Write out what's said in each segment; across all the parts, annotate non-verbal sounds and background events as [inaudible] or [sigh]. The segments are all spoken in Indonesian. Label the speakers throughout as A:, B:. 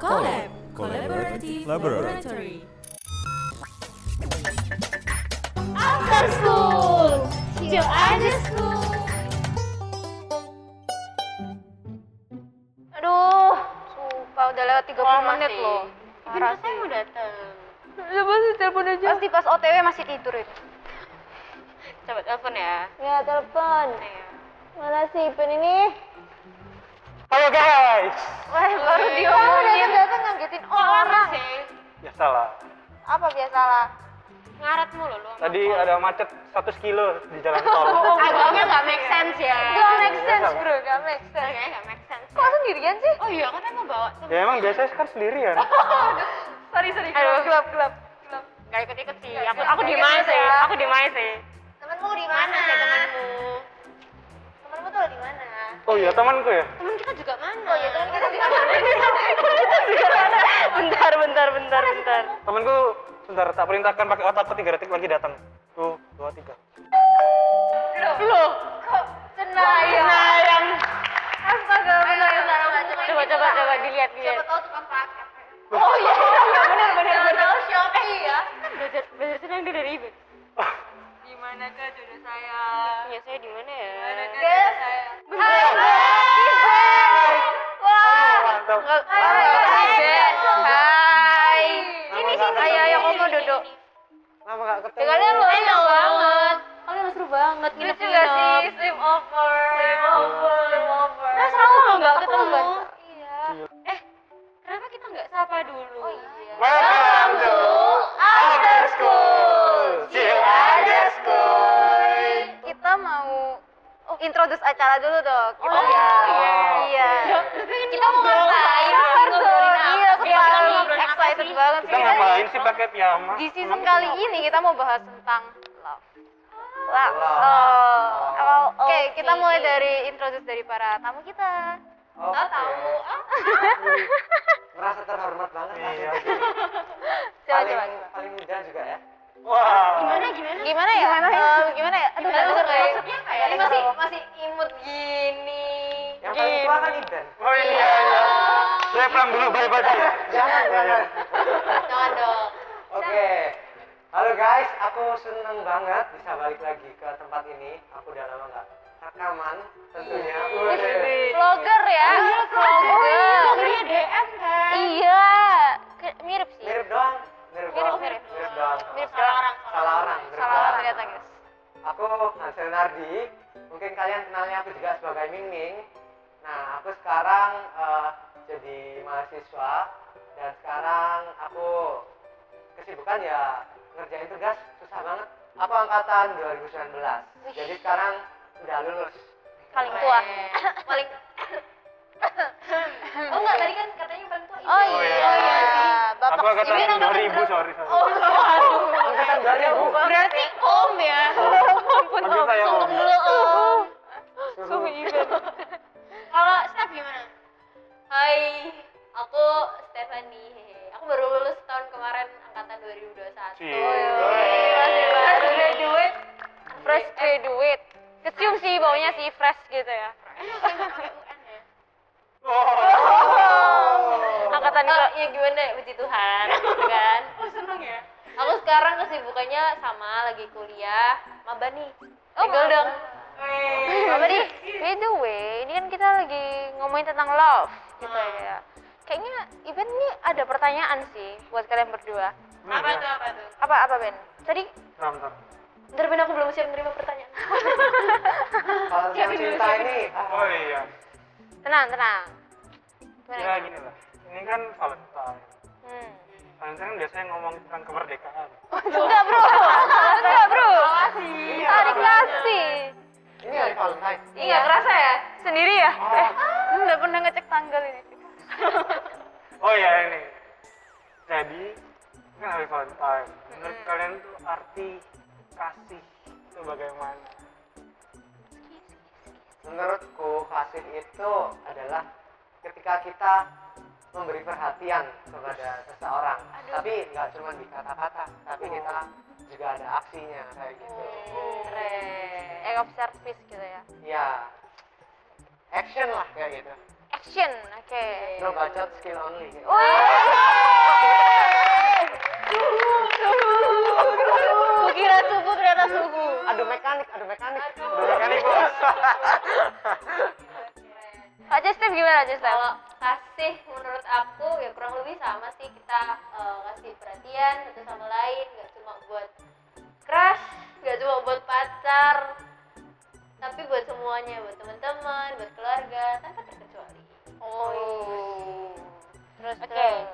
A: Collab Collaborative Laboratory
B: After school, till after school. Aduh, sumpah udah lewat 30 menit loh. Parah sih. mau datang. Coba sih Iya, telepon aja. Pasti pas OTW masih tidur itu. Coba telepon ya. Ya, telepon. Mana sih Ipin ini?
C: Halo guys.
B: Wah, baru diomongin. Iya. Kamu datang-datang ngagetin orang.
C: Ya salah.
B: Apa biasalah? Ngaret mulu lu.
C: Tadi ada macet 100 kilo di jalan tol.
B: Oh, Agaknya nggak make sense ya. Gak make sense
C: Iya,
B: bro, gak make sense. Kayaknya gak make sense. Kok sendirian sih? Oh iya, kan emang bawa
C: ya emang biasanya kan sendirian.
B: Sorry, sorry. Aduh, gelap, gelap. gelap. Gak ikut-ikut sih. Iya, Aku, aku di mana sih? Aku di [laughs] mana sih? Temenmu di mana sih temenmu? Temenmu tuh di mana?
C: Oh iya temanku ya.
B: Temen kita juga mana? Oh iya, temen kita juga mana? Temen kita juga mana? Bentar, bentar, bentar, bentar.
C: Temanku sebentar tak perintahkan pakai otakku tiga detik lagi datang. Tuh dua tiga.
B: Loh, kok cenayang? Cenayang. Astaga, benar, benar. Coba, coba, coba, dilihat, dilihat. Siapa tahu tukang paket. Oh iya, iya, benar, benar, benar. tahu Shopee ya. Belajar, belajar senang dia dari Ibin.
D: Di manakah jodoh saya?
B: Ya, saya di mana ya?
D: Manakah jodoh saya?
C: Mantap.
B: Hai.
C: Sini, sini.
B: Ayo, ayo, kamu duduk.
C: Lama gak ketemu.
B: Kalian lucu banget. Kalian seru banget nginep
D: Lucu gak sih? Swim over. Swim over. Swim over.
B: Nah, selalu loh nggak ketemu.
C: Iya.
B: Eh, kenapa kita nggak sapa dulu? Oh iya.
C: Welcome to After School. Chill After School.
B: Kita mau oh, introduce acara dulu dong. Kita ya.
D: Oh, iya.
B: Iya. Kita mau
D: ngobrol.
B: ngapain?
D: Iya, ngobrolin apa?
B: Iya,
D: Iya, kita
B: sekarang
D: ngobrolin apa
B: excited
D: sih?
B: banget
C: Kita
B: sih.
C: ngapain sih pakai piyama?
B: ya. Di season kali ini kita mau bahas tentang love. Love.
C: Love.
B: Oh.
C: Love.
B: Oke, kita mulai dari introduce dari para tamu kita.
C: Oh tahu. Merasa terhormat banget. Iya.
B: Coba coba. coba.
C: paling muda juga ya. Wah.
B: gimana? ya? Gimana ya? gimana ya? Aduh, gimana maksudnya ya? kayak masih masih imut gini.
E: Yang paling tua kan Iben.
C: Oh iya iya. Saya pulang dulu Iya. bye bye. bye.
E: Jangan, jangan.
B: Jangan dong.
E: Oke. Halo guys, aku seneng banget bisa balik lagi ke tempat ini. Aku udah lama nggak rekaman tentunya.
C: Iya.
E: Wih.
B: Vlogger ya? vlogger. vloggernya DM kan? Iya. Ke- Mirip sih.
E: Mirip doang. Mirip, doang.
B: mirip.
E: Mirip doang.
B: Mirip salah orang.
E: Salah orang. Mirip
B: Salah orang
E: doang.
B: ternyata, guys.
E: Aku Hansel Nardi. Mungkin kalian kenalnya aku juga sebagai Ming Ming. Nah, aku sekarang eh, jadi mahasiswa dan sekarang aku kesibukan ya ngerjain tugas susah banget. Aku angkatan 2019. Jadi sekarang udah lulus.
B: Paling tua. Paling [coughs]
D: Oh enggak, tadi kan katanya paling tua.
B: Oh
C: Oh,
B: iya.
C: iya.
B: Oh, iya. Bapak
C: Aku angkatan 2000 Oh, sorry sorry.
B: Oh,
E: Angkatan
B: Ya kan
E: 2000.
B: Berarti om ya. Ampun
C: Panggil
B: om.
C: saya Om. ya.
B: Sungkem dulu om.
E: Suhu.
B: Kalau Steph gimana? Hai, aku Stephanie. Hehe. Aku baru lulus tahun kemarin angkatan 2021.
C: Cie.
B: ya. Fresh graduate. Fresh graduate. Kecium sih baunya sih fresh gitu ya. Oh.
C: Oh.
B: Angkatan oh, ya gimana ya puji Tuhan gitu kan. Aku seneng ya. Aku sekarang kesibukannya sama lagi kuliah maba nih. Oh, dong. Maba nih. By the way, ini kan kita lagi ngomongin tentang love gitu ya. Kayaknya event ini ada pertanyaan sih buat kalian berdua.
D: Apa tuh, apa tuh?
B: Apa apa Ben? Tadi
C: Ram, ram.
B: Bentar Ben aku belum siap menerima pertanyaan.
E: Kalau tentang cinta ini,
C: Oh iya.
B: [laughs] tenang, tenang. Gimana?
C: Ya gini lah. Ini kan Valentine.
B: Hmm.
C: Valentine kan biasanya ngomong tentang kemerdekaan.
B: Enggak, Bro. Enggak, Bro. Tarik nasi.
E: ini hari Valentine.
B: ya? Iya, nggak kerasa ya? Sendiri ya? Eh, nggak pernah ngecek tanggal ini.
C: Oh iya ini. Jadi ini kan hari Valentine. Menurut kalian tuh arti kasih itu bagaimana?
E: Menurutku kasih itu adalah ketika kita memberi perhatian kepada seseorang, tapi nggak cuma di kata-kata, tapi kita juga ada aksinya kayak gitu.
B: Oh. Keren. Act of service gitu ya.
E: Ya, action lah kayak gitu.
B: action. Oke.
E: No budget, skill only.
C: Oh,
B: Wih! Kukira subuh ternyata subuh.
E: Aduh mekanik, aduh mekanik.
C: Udah makan nih bos.
B: Aja Steve gimana Aja Steve?
D: Kalau kasih menurut aku ya kurang lebih sama sih kita eh, ngasih perhatian satu sama lain, nggak cuma buat crush, nggak cuma buat pacar, tapi buat semuanya, buat teman-teman, buat keluarga, tanpa terkecuali.
B: Oh. Terus
F: Oke.
B: terus.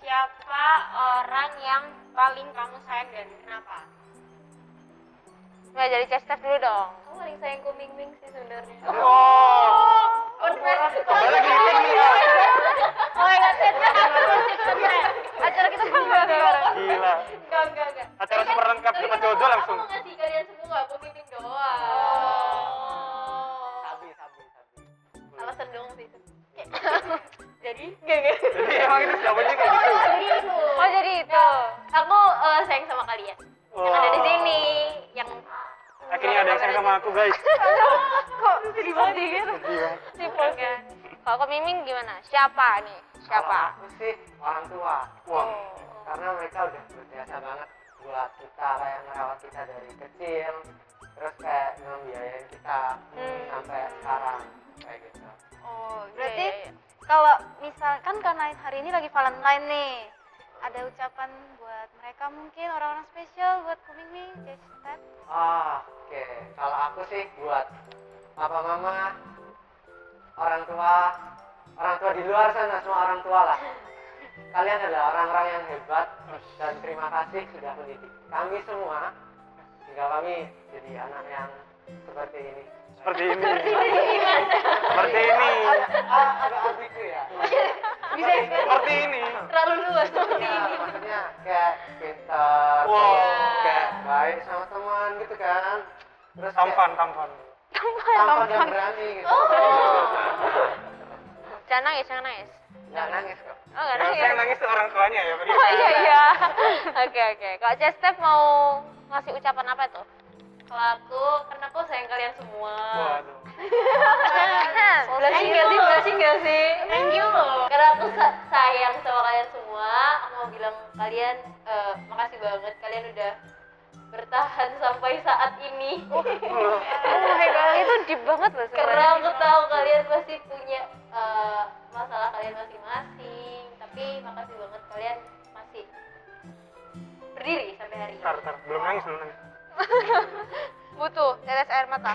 F: Siapa orang yang paling kamu sayang dan kenapa?
B: Nggak jadi Chester dulu dong.
D: Aku paling sayang kuming ming sih sebenarnya.
C: Oh, kembali lagi di nih. ya. Kak.
B: Oh my god, Chester aku musik beneran. Acara kita berubah sekarang.
C: Gila.
D: Enggak, enggak, enggak.
C: Acara super lengkap
D: Tapi
C: sama
D: kan
C: Jojo
D: aku-
C: langsung.
D: Aku mau ngasih kalian semua, aku mimpi doang.
E: Sabi, sabi, sabi.
D: Alasan doang sih. Kayak- Jadi, enggak, enggak.
C: Jadi Iya, emang itu jawabannya kayak gitu.
D: Jadi itu.
B: Oh jadi itu.
D: Aku eh, sayang sama kalian. Yang ada di sini, yang
C: Oh. Akhirnya ada yang sayang sama aku guys.
B: Kok sedih banget gitu?
C: Iya.
B: Sipol kan. Kalau kau Miming gimana? Siapa nih? Siapa? Oh,
E: Kalau aku sih orang tua.
C: Wah.
E: Karena mereka udah berjasa banget buat kita kayak merawat kita dari kecil, terus kayak membiayain kita
B: Hmm.
E: sampai sekarang kayak gitu.
B: Oh,
F: Berarti
B: berarti
F: kalau misalkan karena hari ini lagi Valentine nih, ada ucapan buat mereka mungkin orang-orang spesial buat Kuming Ming, Jessica.
E: Ah, oke. Kalau aku sih buat papa mama, orang tua, orang tua di luar sana semua orang tua lah. Kalian adalah orang-orang yang hebat dan terima kasih sudah mendidik kami semua hingga kami jadi anak yang seperti ini.
C: Seperti ini. Seperti ini.
E: Ah, agak ambigu ya.
D: bisa
C: Seperti ini.
D: terlalu luas seperti
E: Ya,
D: ini.
E: maksudnya kayak pintar,
C: Wow.
E: terus kayak baik sama teman gitu kan. Terus kayak
C: Tampan, tampan.
E: tampan yang berani gitu.
B: jangan nangis, jangan nangis.
E: Nggak nangis kok.
B: Oh, nggak
C: Yang
B: nangis.
C: sayang nangis tuh orang tuanya ya.
B: Oh [laughs] iya iya. Oke oke. Kalau Chester mau ngasih ucapan apa tuh?
D: Kalau aku, karena aku sayang kalian semua.
C: Waduh.
D: Blushing gak sih? Blushing gak sih? Thank you loh. Karena aku sa- sayang sama kalian semua. Aku mau bilang kalian eh, makasih banget kalian udah bertahan sampai saat ini.
B: Oh my god, [laughs] itu deep banget loh
D: Karena aku tahu kalian pasti punya eh, masalah kalian masing-masing. Tapi makasih banget kalian masih berdiri sampai hari ini.
C: Tar, tar. Belum nangis, belum nangis.
B: Butuh tetes air mata.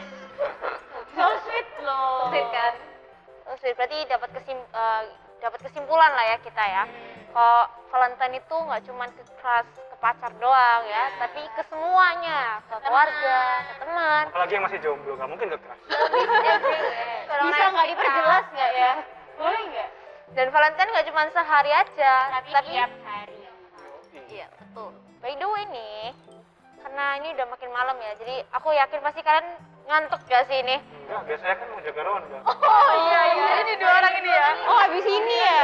D: So sweet loh. Sweet kan?
B: Oh, sweet. berarti dapat kesim eh, dapat kesimpulan lah ya kita ya. Kok Valentine itu nggak cuma ke crush, ke pacar doang ya, tapi ke semuanya, ke keluarga, ke teman.
C: Apalagi yang masih jomblo, nggak mungkin gak keras.
D: Bisa nggak diperjelas nggak ya? Boleh nggak?
B: Dan Valentine nggak cuma sehari aja, tapi,
F: tiap hari.
B: Iya, betul. By the way nih, karena ini udah makin malam ya, jadi aku yakin pasti kalian ngantuk gak sih ini?
C: Enggak, biasanya kan mau jaga ronda.
B: Oh iya, iya. Ini dua orang ini ya? Oh, habis ini ya?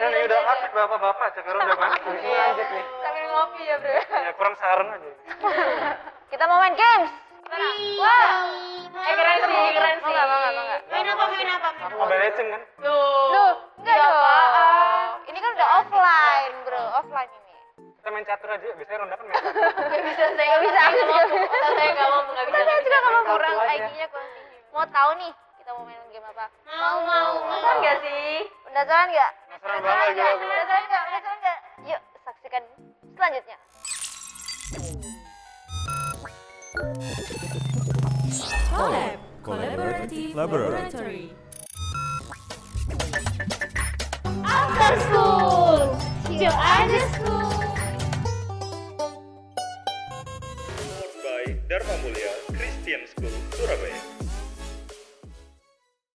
C: Kan ini udah asik bapak-bapak jaga ronda banget.
E: Habis ini lanjut Iya, nih.
B: Sambil ngopi ya, bro.
C: [laughs] Ya kurang sarung aja.
B: [laughs] Kita mau main games.
F: Wah,
D: Eh keren sih, keren
B: Mau
D: sih.
B: nggak, mau nggak, mau nggak?
F: main apa main apa? Main apa?
C: Mobile Legend kan?
B: Loh, enggak dong. Ini kan udah offline, bro. Offline ini.
C: Kita main catur aja, biasanya ronda kan main catur.
D: Gak bisa, saya nggak bisa. Aku juga Saya nggak mau, nggak bisa.
B: Saya juga kamu
E: Kartu
B: kurang
E: aja.
B: IG-nya kurang tinggi. Mau tahu nih, kita mau main game apa?
F: Mau mau mau.
D: Penasaran nggak sih?
B: Penasaran nggak?
C: Penasaran banget gila gua.
B: Penasaran nggak? Penasaran nggak? Yuk, saksikan selanjutnya.
A: Collab. Collaborative Laboratory.
G: by Dharma Mulia Christian School, Surabaya.